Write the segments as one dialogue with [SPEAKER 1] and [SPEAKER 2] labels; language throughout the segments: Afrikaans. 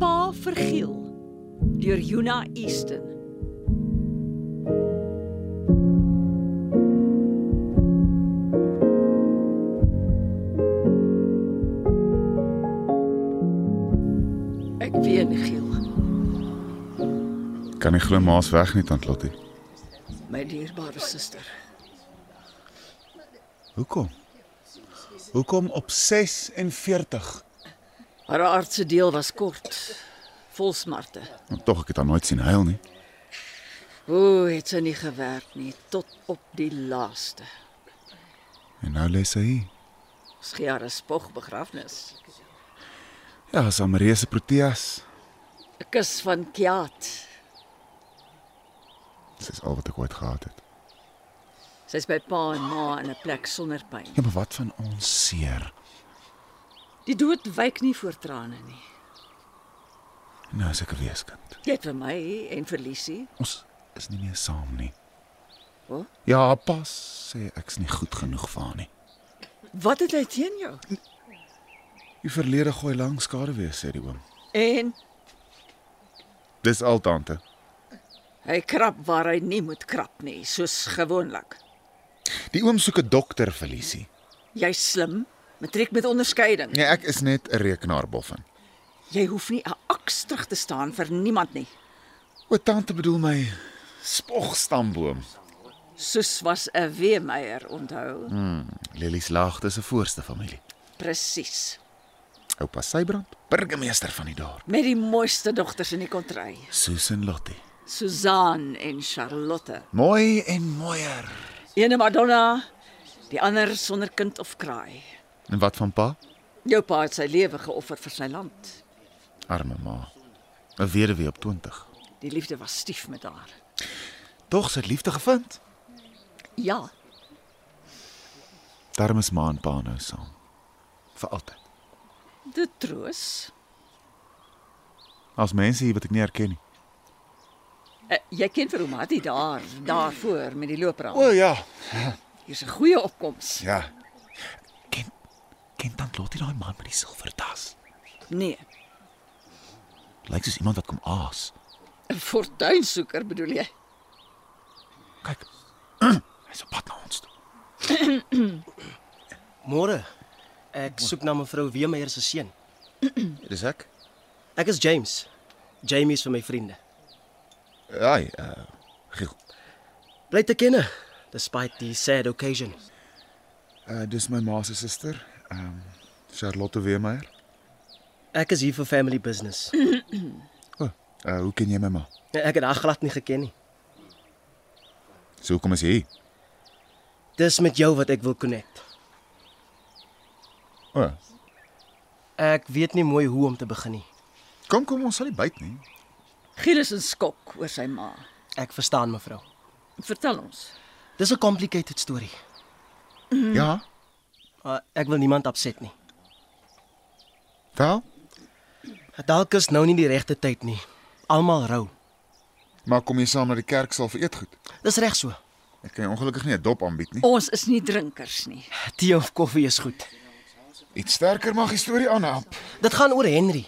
[SPEAKER 1] Pa vergiel deur Juna Easton. Ek weet nie giel.
[SPEAKER 2] Kan nie glo ma's weg nie, tant Lottie.
[SPEAKER 1] My dierbare suster.
[SPEAKER 2] Hoekom? Hoekom op 46?
[SPEAKER 1] Haar aardse deel was kort, vol smarte.
[SPEAKER 2] Nou, Tog ek het haar nooit sien huil nie.
[SPEAKER 1] O, het sy nie gewerk nie tot op die laaste.
[SPEAKER 2] En nou lê sy hier.
[SPEAKER 1] Skare spog begrafnis.
[SPEAKER 2] Ja, is Amarie se Proteas.
[SPEAKER 1] 'n Kus van Kiat.
[SPEAKER 2] Dis al wat ek ooit gehad het.
[SPEAKER 1] Sy's by pa en ma in 'n plek sonder pyn.
[SPEAKER 2] Ja, maar wat van ons seer?
[SPEAKER 1] Die dood wyk nie voor trane nie.
[SPEAKER 2] Nou is ek 'n weeskind.
[SPEAKER 1] Jy het vir my en vir Lisie.
[SPEAKER 2] Ons is nie meer saam nie.
[SPEAKER 1] Wat?
[SPEAKER 2] Ja, pas sê ek's nie goed genoeg vir haar nie.
[SPEAKER 1] Wat het hy teen jou?
[SPEAKER 2] Die verlede gooi lank skade weer, sê die oom.
[SPEAKER 1] En
[SPEAKER 2] Dis al tante.
[SPEAKER 1] hy krap waar hy nie moet krap nie, soos gewoonlik.
[SPEAKER 2] Die oom soek 'n dokter vir Lisie.
[SPEAKER 1] Jy's slim, matriek met onderskeiding.
[SPEAKER 2] Nee, ek is net 'n rekenaarboffin.
[SPEAKER 1] Jy hoef nie 'n aks terug te staan vir niemand nie.
[SPEAKER 2] O, tante bedoel my spogstamboom.
[SPEAKER 1] Soos was 'n weemeier, onthou. Hmm.
[SPEAKER 2] Lelies Laagte se voorste familie.
[SPEAKER 1] Presies.
[SPEAKER 2] Oupa Sybrand, burgemeester van die dorp.
[SPEAKER 1] Met die mooiste dogters in die kontry,
[SPEAKER 2] Susan Lottie.
[SPEAKER 1] Susan en Charlotte.
[SPEAKER 2] Mooi en mooier.
[SPEAKER 1] Eene Madonna, die ander sonder kind of kraai.
[SPEAKER 2] En wat van pa?
[SPEAKER 1] Jou pa het sy lewe geoffer vir sy land.
[SPEAKER 2] Arme ma. 'n Weduwee op 20.
[SPEAKER 1] Die liefde was stief met haar.
[SPEAKER 2] Tog sy het liefde gevind.
[SPEAKER 1] Ja,
[SPEAKER 2] Daarom is ma en pa nou saam. Vir altyd.
[SPEAKER 1] dit troos.
[SPEAKER 2] As mense hier wat ek nie herken nie.
[SPEAKER 1] Uh, jy ken vir Omati daar, daarvoor met die loopraam.
[SPEAKER 2] ja.
[SPEAKER 1] Hier's 'n goeie opkoms.
[SPEAKER 2] Ja. Ken ken tant Lottie daai man met die silwer tas?
[SPEAKER 1] Nee,
[SPEAKER 2] Lyk soos iemand wat kom aas.
[SPEAKER 1] 'n fortuinsoeker bedoel jy?
[SPEAKER 2] Kyk. Hy's op pad na ons toe.
[SPEAKER 3] Môre. Ek soek na mevrou Weemeyer se seun.
[SPEAKER 2] Dis ek.
[SPEAKER 3] Ek is James. Jamie is vir my vriende.
[SPEAKER 2] Ai, uh, Giel.
[SPEAKER 3] Bly te ken despite the sad occasion.
[SPEAKER 2] Uh, dis my ma se suster, ehm um, Charlotte Weemeyer.
[SPEAKER 3] Ek is hier vir family business.
[SPEAKER 2] O, oh, uh, hoe ken jy my ma?
[SPEAKER 3] Ek het haar glad nie geken nie.
[SPEAKER 2] So hoekom is jy hier?
[SPEAKER 3] Dis met jou wat ek wil connect.
[SPEAKER 2] O, oh,
[SPEAKER 3] Ek weet nie mooi hoe om te begin nie.
[SPEAKER 2] kom kom ons sal nie byt nie.
[SPEAKER 1] Giel is in skok oor sy ma.
[SPEAKER 3] Ek verstaan mevrou.
[SPEAKER 1] Vertel ons.
[SPEAKER 3] Dis 'n complicated story.
[SPEAKER 2] Mm. Ja.
[SPEAKER 3] Maar Uh, ek wil niemand opset nie.
[SPEAKER 2] Wel,
[SPEAKER 3] Dalk is nou nie die regte tyd nie. Almal rou.
[SPEAKER 2] maar kom jy saam na die kerk sal vir eetgoed?
[SPEAKER 3] Dis reg so.
[SPEAKER 2] Ek kan jou ongelukkig nie 'n dop aanbied nie.
[SPEAKER 1] Ons is nie drinkers nie.
[SPEAKER 3] Tee of koffie is goed.
[SPEAKER 2] Iets sterker mag die storie aanhelp.
[SPEAKER 3] Dit gaan oor Henry.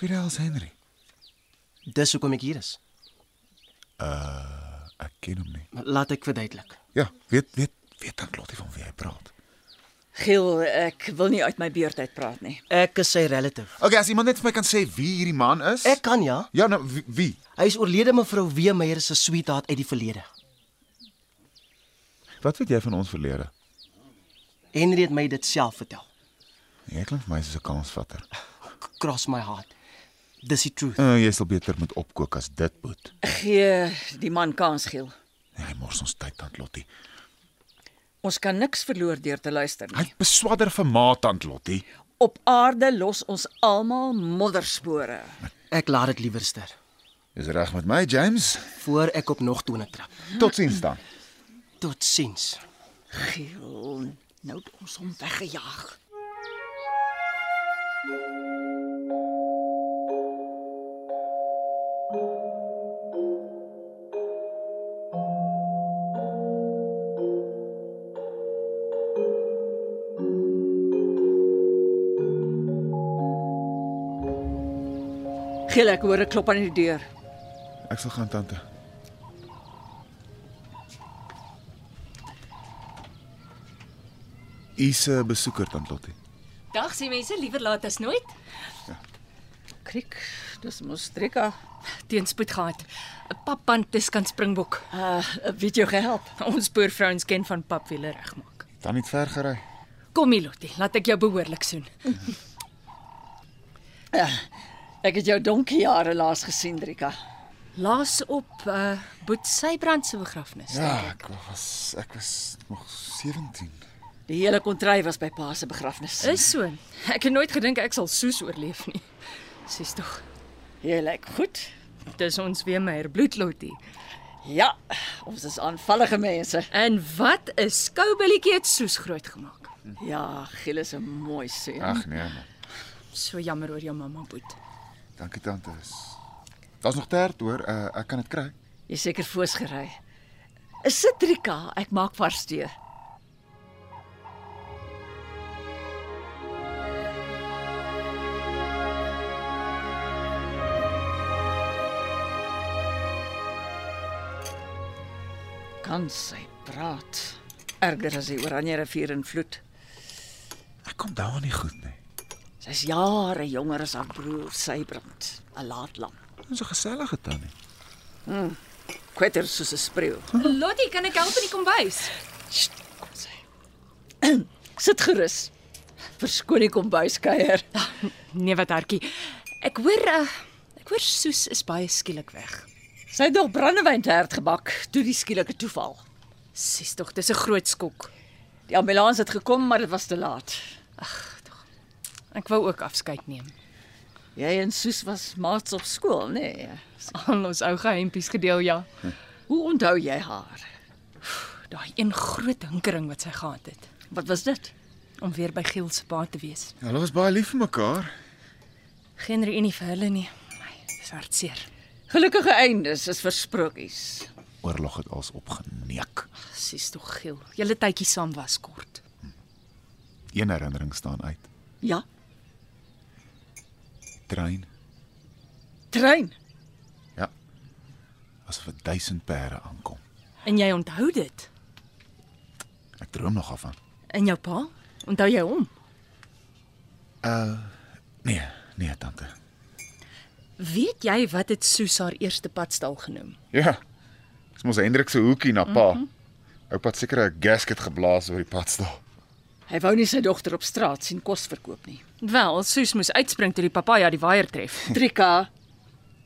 [SPEAKER 2] Wie is Henry?
[SPEAKER 3] Dis hoekom ek hier is.
[SPEAKER 2] Eh, Ek ken hom nie.
[SPEAKER 3] Laat ek verduidelik.
[SPEAKER 2] Ja, weet weet weet dan Lottie van wie hy praat.
[SPEAKER 1] Giel, ek wil nie uit my beurt uit praat nie.
[SPEAKER 3] Ek is sy relative.
[SPEAKER 2] Okay, as iemand net vir my kan sê wie hierdie man is?
[SPEAKER 3] Ek kan ja.
[SPEAKER 2] Ja, nou wie? wie?
[SPEAKER 3] Hy is oorlede mevrou Weemeyer se sweetheart uit die verlede.
[SPEAKER 2] Wat weet jy van ons verlede?
[SPEAKER 3] Henry het my dit self vertel.
[SPEAKER 2] Jy klink vir my soos 'n kansvatter.
[SPEAKER 3] C- Cross my heart. Dis die truth.
[SPEAKER 2] Uh, jy sal beter moet opkook as dit moet.
[SPEAKER 1] Gee die man kans, Giel.
[SPEAKER 2] Nee, hy mors ons tyd tant Lottie.
[SPEAKER 1] Ons kan niks verloor deur te luister
[SPEAKER 2] Hy
[SPEAKER 1] nie.
[SPEAKER 2] beswadder vir ma tant Lottie.
[SPEAKER 1] Op aarde los ons almal modderspore.
[SPEAKER 3] Ek laat dit liewerster
[SPEAKER 2] Dis reg met my, James.
[SPEAKER 3] voor ek op nog tone trap.
[SPEAKER 2] Totsiens dan.
[SPEAKER 3] Totsiens.
[SPEAKER 1] Giel, nou het ons hom weggejaag. Giel, ek hoor 'n klop aan die deur.
[SPEAKER 2] Ek sal gaan tante. Ise besoeker tant Lottie.
[SPEAKER 4] Dag sê mense liewer laat as nooit.
[SPEAKER 1] Kriek, dis mos Trika.
[SPEAKER 4] Teenspoed gehad. 'n Pappantes kan springbok.
[SPEAKER 1] Uh, weet jou gehelp.
[SPEAKER 4] Ons boervrouens ken van papwiele regmaak.
[SPEAKER 2] Dan het ver gery.
[SPEAKER 4] Kom hier Lottie, laat ek jou behoorlik soen.
[SPEAKER 1] Ek het jou donkie jare laas gesien, Trika.
[SPEAKER 4] Laas op uh Boet Sybrand se begrafnis.
[SPEAKER 2] Ja, ek was ek was nog 17.
[SPEAKER 1] Die hele kontry was by pa se begrafnis.
[SPEAKER 4] Is so. Ek het nooit gedink ek sal soos oorleef nie. Sies tog.
[SPEAKER 1] Jy lyk goed.
[SPEAKER 4] Dis ons weer meer bloed Lottie.
[SPEAKER 1] Ja, ons is aanvallige mense.
[SPEAKER 4] En wat 'n skoubilletjie het soos groot gemaak.
[SPEAKER 1] Ja, Giel is 'n mooi seun.
[SPEAKER 2] Ag nee man.
[SPEAKER 4] So jammer oor jou mamma Boet.
[SPEAKER 2] Dankie tante. Is- Daar's nog tert hoor. Uh, ek kan dit kry.
[SPEAKER 1] Jy seker voorsgery. Is dit Trika? Ek maak vars tee. Kan sy praat? Erger as die Oranje rivier in vloed.
[SPEAKER 2] Ek kom daar nie goed nee. nie.
[SPEAKER 1] Sy's jare jonger as haar broer Sybrand, 'n laatlam.
[SPEAKER 2] Ons is gesellige tannie.
[SPEAKER 1] Kwetter soos 'n spreeu.
[SPEAKER 4] Lottie, kan ek help in die kombuis?
[SPEAKER 1] Sst, kom sy. Sit gerus. Verskoon die kombuiskuier.
[SPEAKER 4] Nee wat hartjie. Ek hoor uh, ek hoor Soos is baie skielik weg.
[SPEAKER 1] Sy het nog brandewyn te hard gebak toe die skielike toeval.
[SPEAKER 4] Sies tog, dis 'n groot skok.
[SPEAKER 1] Die ambulans het gekom, maar dit was te laat.
[SPEAKER 4] Ek wou ook afskeid neem.
[SPEAKER 1] Jy en Soos was maats op skool, nê? Nee.
[SPEAKER 4] Al ons ou geheimpies gedeel, ja.
[SPEAKER 1] Hoe onthou jy haar?
[SPEAKER 4] Daai een groot hinkering wat sy gehad het
[SPEAKER 1] Wat was dit?
[SPEAKER 4] om weer by Giel se pa te wees.
[SPEAKER 2] Hulle was baie lief vir mekaar.
[SPEAKER 4] Geen reunie vir hulle nie. My, dis hartseer.
[SPEAKER 1] Gelukkige eindes is versprokies.
[SPEAKER 2] Oorlog het ons opgeneek.
[SPEAKER 4] Sies tog Giel. Julle tydjie saam was kort.
[SPEAKER 2] Een herinnering staan uit.
[SPEAKER 1] Ja,
[SPEAKER 2] Trein.
[SPEAKER 1] trein.
[SPEAKER 2] Ja. Asof 'n duisend pere aankom.
[SPEAKER 4] En jy onthou dit?
[SPEAKER 2] Ek droom nog daarvan.
[SPEAKER 4] En jou pa? Onthou jy hom?
[SPEAKER 2] Nee, nee tante.
[SPEAKER 4] Weet jy wat het Soos haar eerste padstal genoem?
[SPEAKER 2] Ja. Dis mos Hendrik se hoekie na pa. Mm -hmm. Oupa het seker 'n gasket geblaas oor die padstal.
[SPEAKER 1] Hy wou nie sy dogter op straat sien kos verkoop nie.
[SPEAKER 4] Wel, Soos moes uitspring toe die papaja die waier tref.
[SPEAKER 1] Trika,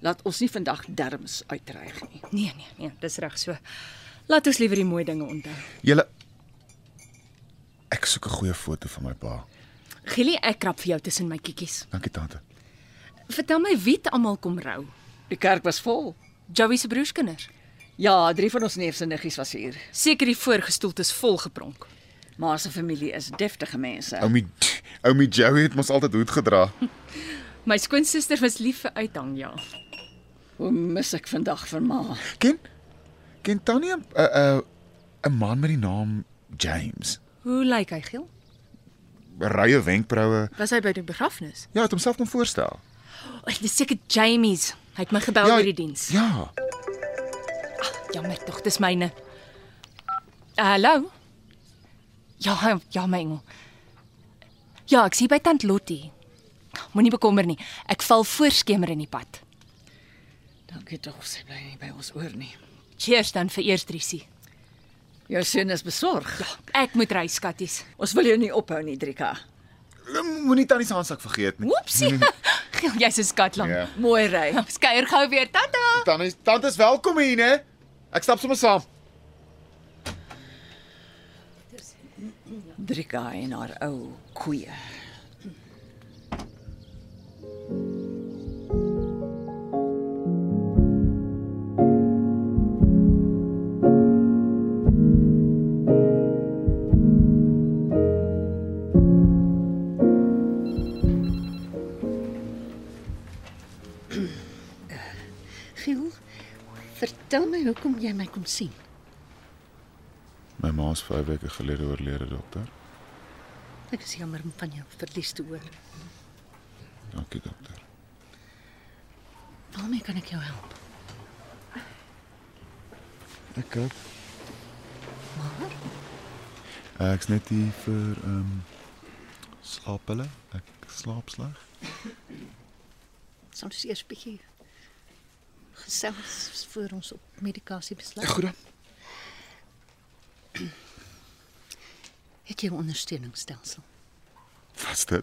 [SPEAKER 1] laat ons nie vandag derms uitreig nie.
[SPEAKER 4] Nee, nee, nee, dis reg so. Laat ons liewer die mooi dinge onthou.
[SPEAKER 2] Julle Ek soek 'n goeie foto van my pa.
[SPEAKER 4] Gilly, ek krap vir jou tussen my kiekies.
[SPEAKER 2] Dankie tante.
[SPEAKER 4] Vertel my wie het almal kom rou?
[SPEAKER 1] Die kerk was vol.
[SPEAKER 4] Joey se broerskinders.
[SPEAKER 1] Ja, drie van ons neefse niggies was hier.
[SPEAKER 4] Seker die voorgestoeltes vol gepronk.
[SPEAKER 1] Ma se familie is deftige mense.
[SPEAKER 2] Oumi Oumi Joey het mos altyd hoed gedra.
[SPEAKER 4] My skoonsister was lief vir uithang, ja.
[SPEAKER 1] Hoe mis ek vandag vir ma?
[SPEAKER 2] Ken Ken tannie 'n 'n 'n man met die naam James.
[SPEAKER 4] Hoe lyk hy, Giel?
[SPEAKER 2] Rye wenkbroue.
[SPEAKER 4] Was hy by die begrafnis?
[SPEAKER 2] Ja, het homself kom voorstel.
[SPEAKER 4] O, oh, dis seker Jamie's. Hy het my gebel
[SPEAKER 2] ja,
[SPEAKER 4] oor die diens.
[SPEAKER 2] Ja.
[SPEAKER 4] Jammer tog, dis myne. Eh, Hallo. Ja, ja my engel. Ja, ek sien by tant Lottie. Moenie bekommer nie. Ek val voorskemer in die pad.
[SPEAKER 1] Dankie tog sy bly nie by ons oor nie.
[SPEAKER 4] Cheers dan vir eers Driesie.
[SPEAKER 1] Jou seun is besorg. Ja.
[SPEAKER 4] Ek moet ry skatties.
[SPEAKER 1] Ons wil jou nie ophou nie, Drika.
[SPEAKER 2] Ehm, Moenie tannie se handsak vergeet nie.
[SPEAKER 4] Oepsie. Giel, jy's 'n skatlam.
[SPEAKER 2] Ja.
[SPEAKER 4] Yeah.
[SPEAKER 1] Mooi ry.
[SPEAKER 4] Skeuier gou weer. Tata.
[SPEAKER 2] Tannie, tante is welkom hier, né? Ek stap sommer saam.
[SPEAKER 5] Eh,
[SPEAKER 1] Drika en haar ou koeie.
[SPEAKER 5] Vertel my hoekom jy my kom sien.
[SPEAKER 2] My ma's 5 weke gelede oorlede, dokter.
[SPEAKER 5] Ek is jammer om van jou verlies te hoor.
[SPEAKER 2] Dankie, dokter.
[SPEAKER 5] Waarmee kan ek jou help?
[SPEAKER 2] Ek koop. Maar ek's net hier vir ehm um, slaap hulle. Ek slaap sleg.
[SPEAKER 5] Soms eers bietjie gesels voor ons op medikasie besluit.
[SPEAKER 2] Goed dan.
[SPEAKER 5] Het jy 'n ondersteuningsstelsel?
[SPEAKER 2] Wat's dit?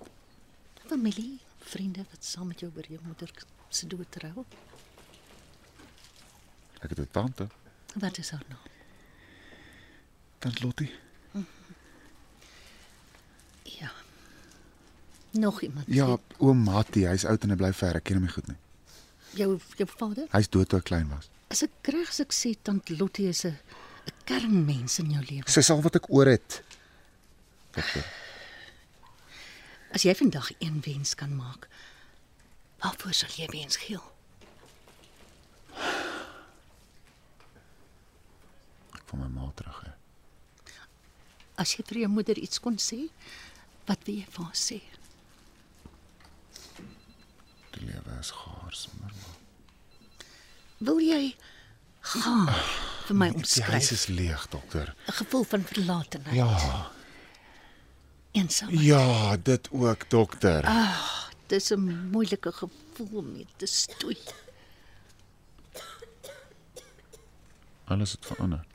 [SPEAKER 5] Familie, vriende wat saam met jou oor jou moeder se dood trou?
[SPEAKER 2] Ek het 'n tante,
[SPEAKER 5] Wat is haar naam?
[SPEAKER 2] tant Lottie.
[SPEAKER 5] Ja. Nog iemand?
[SPEAKER 2] Ja, oom Mattie, hy's oud en hy bly ver. Ek ken hom nie goed nie.
[SPEAKER 5] Jou jou vader?
[SPEAKER 2] Hy's dood toe ek klein was.
[SPEAKER 5] As ek reg as ek sê tant Lottie is 'n 'n kernmens in jou lewe.
[SPEAKER 2] Sy sal wat ek oor het.
[SPEAKER 5] As jy vandag een wens kan maak, waarvoor sal jy wens gee?
[SPEAKER 2] Ek van my ma terug hè.
[SPEAKER 5] As jy vir jou moeder iets kon sê, wat wil jy vir haar sê?
[SPEAKER 2] Die lewe is gaar sommer maar.
[SPEAKER 5] Wil jy gaar vir my
[SPEAKER 2] Die huis
[SPEAKER 5] omskryf?
[SPEAKER 2] is leeg, dokter.
[SPEAKER 5] 'n Gevoel van verlatenheid,
[SPEAKER 2] Ja.
[SPEAKER 5] eensaamheid.
[SPEAKER 2] Ja, dit ook, dokter.
[SPEAKER 5] Dis 'n moeilike gevoel om mee te stoei.
[SPEAKER 2] Alles het verander.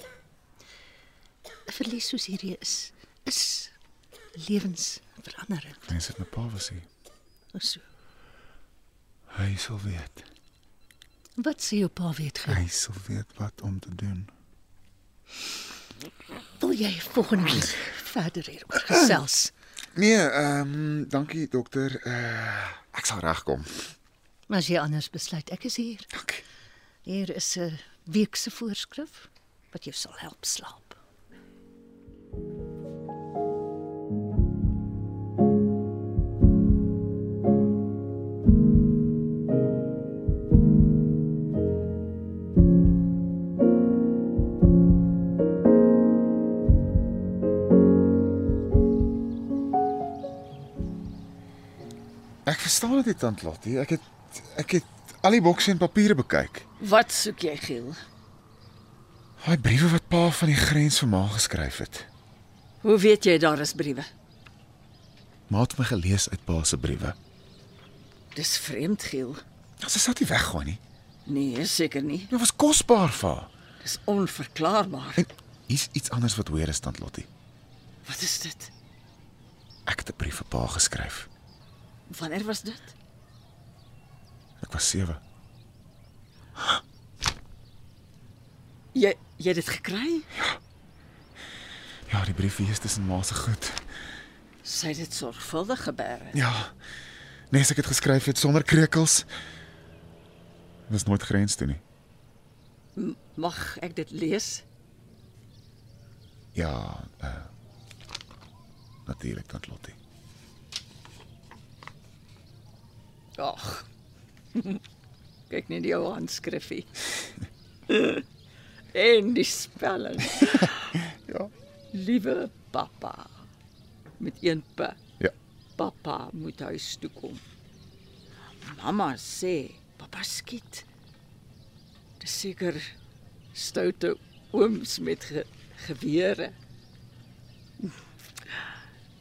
[SPEAKER 5] 'n Verlies soos hierdie is is lewensverandering.
[SPEAKER 2] Mense het 'n pa was hy.
[SPEAKER 5] So.
[SPEAKER 2] Hy sal weet.
[SPEAKER 5] Wat sê jou pa weet gee?
[SPEAKER 2] Hy sal weet wat om te doen.
[SPEAKER 5] Wil jy volgende week verder hieroor gesels?
[SPEAKER 2] Nee, ehm um, dankie dokter. Uh, ek sal regkom.
[SPEAKER 5] As jy anders besluit, ek is hier.
[SPEAKER 2] Dankie.
[SPEAKER 5] Hier is 'n week se voorskrif wat jou sal help slaap.
[SPEAKER 2] Ek verstaan dit nie tant Lottie. Ek het ek het al die bokse en papiere bekyk.
[SPEAKER 1] Wat soek jy, Giel?
[SPEAKER 2] Daai briewe wat pa van die grens vir ma geskryf het.
[SPEAKER 1] Hoe weet jy daar is briewe?
[SPEAKER 2] Ma het my gelees uit pa se briewe.
[SPEAKER 1] Dis vreemd, Giel.
[SPEAKER 2] Ons is dit weggaan nie.
[SPEAKER 1] Nee, seker nie.
[SPEAKER 2] Dit was kosbaar vir haar.
[SPEAKER 1] Dis onverklaarbaar.
[SPEAKER 2] En hier's iets anders wat hoor is tant Lottie.
[SPEAKER 1] Wat is dit?
[SPEAKER 2] Ek het 'n brief vir pa geskryf.
[SPEAKER 1] Wanneer was dit?
[SPEAKER 2] Ek was 7.
[SPEAKER 1] Jy jy het dit gekry?
[SPEAKER 2] Ja, die brief hier is tussen ma se goed.
[SPEAKER 1] Sy het dit sorgvuldig gebeere.
[SPEAKER 2] Ja. Nee, as ek het geskryf het sonder krekels. Was nooit grens toe nie.
[SPEAKER 1] Mag ek dit lees?
[SPEAKER 2] Ja, uh natuurlik tant Lottie.
[SPEAKER 1] Ag. Kyk net die ou handskrifie. en die spelling.
[SPEAKER 2] Ja.
[SPEAKER 1] Liewe pappa. Met een p.
[SPEAKER 2] Ja.
[SPEAKER 1] Pappa moet huis toe kom. Mamma sê pappa skiet. Dis seker stoute ooms met ge gewere.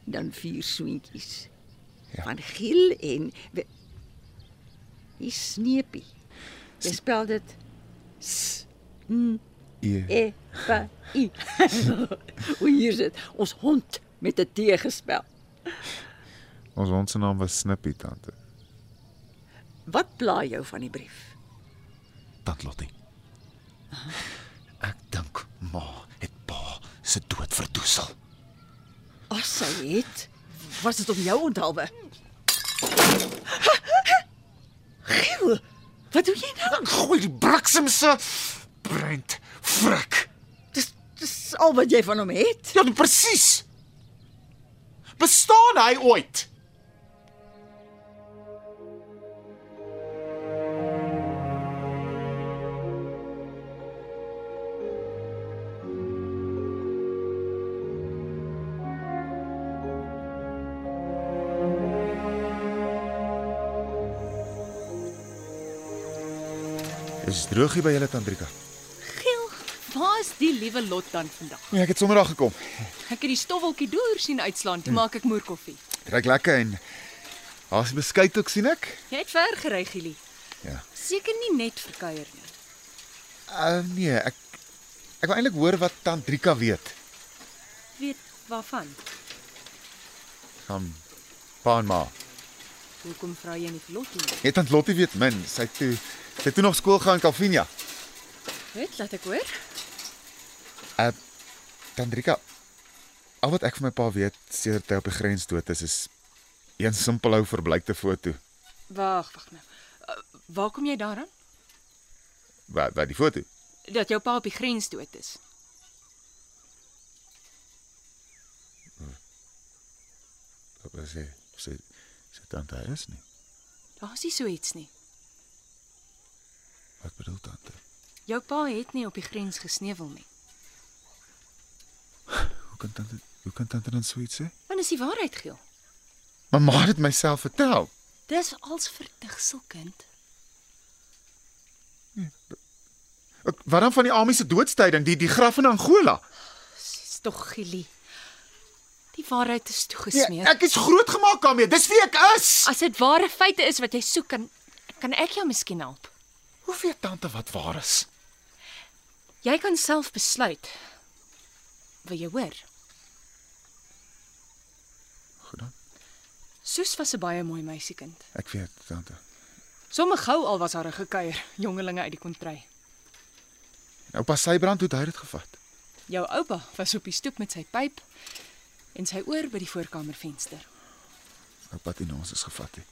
[SPEAKER 1] Dan vier swintjies.
[SPEAKER 2] Ja.
[SPEAKER 1] Ja. Van Giel en we- die sneepie. Jy spel dit s
[SPEAKER 2] E.
[SPEAKER 1] e p i. Hoe hier sit ons hond met 'n T gespel.
[SPEAKER 2] Ons hond se naam was Snippy tante.
[SPEAKER 1] Wat pla jou van die brief?
[SPEAKER 2] Tant Lottie. Ek dink ma het pa se dood verdoesel.
[SPEAKER 1] As sy het, was dit om jou onthaalwe. Giel, wat doen jy nou?
[SPEAKER 2] Gooi die bliksemse brand frik.
[SPEAKER 1] Dis dis al wat jy van hom het.
[SPEAKER 2] Ja, presies. Bestaan hy ooit? Dis droogie by julle Tandrika.
[SPEAKER 4] Giel, waar is die liewe lot dan vandag?
[SPEAKER 2] Nee, ek het Sondag gekom.
[SPEAKER 4] Ek het die stoffeltjie deur sien uitslaan,
[SPEAKER 2] Ja.
[SPEAKER 4] toe maak ek moerkoffie.
[SPEAKER 2] Dit ruik lekker en daar's beskuit ook sien ek.
[SPEAKER 4] Jy het ver gery, Gielie.
[SPEAKER 2] Ja.
[SPEAKER 4] Seker nie net vir kuier nie.
[SPEAKER 2] Uh nee, ek ek wil eintlik hoor wat Tandrika weet
[SPEAKER 4] Weet waarvan?
[SPEAKER 2] van pa en ma.
[SPEAKER 4] Hoekom vra jy nie vir Lottie nie?
[SPEAKER 2] Net Tant Nee, Lottie weet min. Sy het toe sy het toe nog skool gaan in Calvinia.
[SPEAKER 4] Weet, laat ek hoor.
[SPEAKER 2] Uh Tandrika al wat ek van my pa weet sedert hy op die grens dood is is een simpel ou verblykte foto.
[SPEAKER 4] Wag, wag nou. Uh, waar kom jy daaraan?
[SPEAKER 2] Wat wat die foto?
[SPEAKER 4] Dat jou pa op die grens dood is.
[SPEAKER 2] Wat was hy? Sy sy tante hy is nie.
[SPEAKER 4] Daar's nie so iets nie.
[SPEAKER 2] Wat bedoel tante?
[SPEAKER 4] Jou pa het nie op die grens gesneuwel nie.
[SPEAKER 2] Hoe kan tante hoe kan tante dan so iets sê?
[SPEAKER 4] Want is die waarheid geel.
[SPEAKER 2] Maar ma het dit myself vertel.
[SPEAKER 4] Dis als verdigsel kind.
[SPEAKER 2] Ek, wat dan van die Ami se doodstyding, die die graf in Angola?
[SPEAKER 4] Dis tog Gielie. Die waarheid is toegesmeer.
[SPEAKER 2] Nee, ek is grootgemaak daarmee. Dis wie ek is.
[SPEAKER 4] As dit ware feite is wat jy soek, kan kan ek jou miskien help.
[SPEAKER 2] Hoe weet tante wat waar is?
[SPEAKER 4] Jy kan self besluit. Wil jy hoor?
[SPEAKER 2] Goed dan.
[SPEAKER 4] Soos was 'n baie mooi meisiekind.
[SPEAKER 2] Ek weet tante.
[SPEAKER 4] Somme gou al was haar 'n gekuier, jongelinge uit die kontry.
[SPEAKER 2] Nou pas sy brand hoe het hy dit gevat.
[SPEAKER 4] Jou oupa was op die stoep met sy pyp en sy oor by die voorkamervenster.
[SPEAKER 2] Nou pat in ons is gevat. He.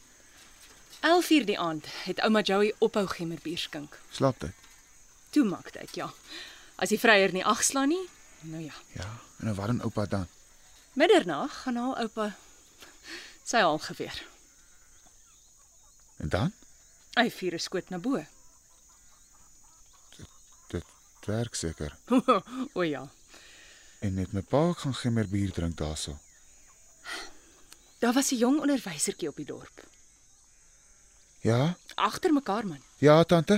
[SPEAKER 4] 11uur die aand het ouma Joey ophou gemmerbier skink.
[SPEAKER 2] Slaaptyd.
[SPEAKER 4] Toe maak dit, ja. As die vryer nie agslaan nie, nou ja.
[SPEAKER 2] Ja. En nou wat doen oupa dan?
[SPEAKER 4] Middernag gaan haar oupa sy haal geweer.
[SPEAKER 2] En dan?
[SPEAKER 4] Hy vuur 'n skoot na bo.
[SPEAKER 2] Dit werk seker.
[SPEAKER 4] o ja.
[SPEAKER 2] En net my pa ook gaan gemmer bier drink daarso.
[SPEAKER 4] Daar was 'n jong onderwysertjie op die dorp.
[SPEAKER 2] Ja?
[SPEAKER 4] Agter mekaar man.
[SPEAKER 2] Ja, tante.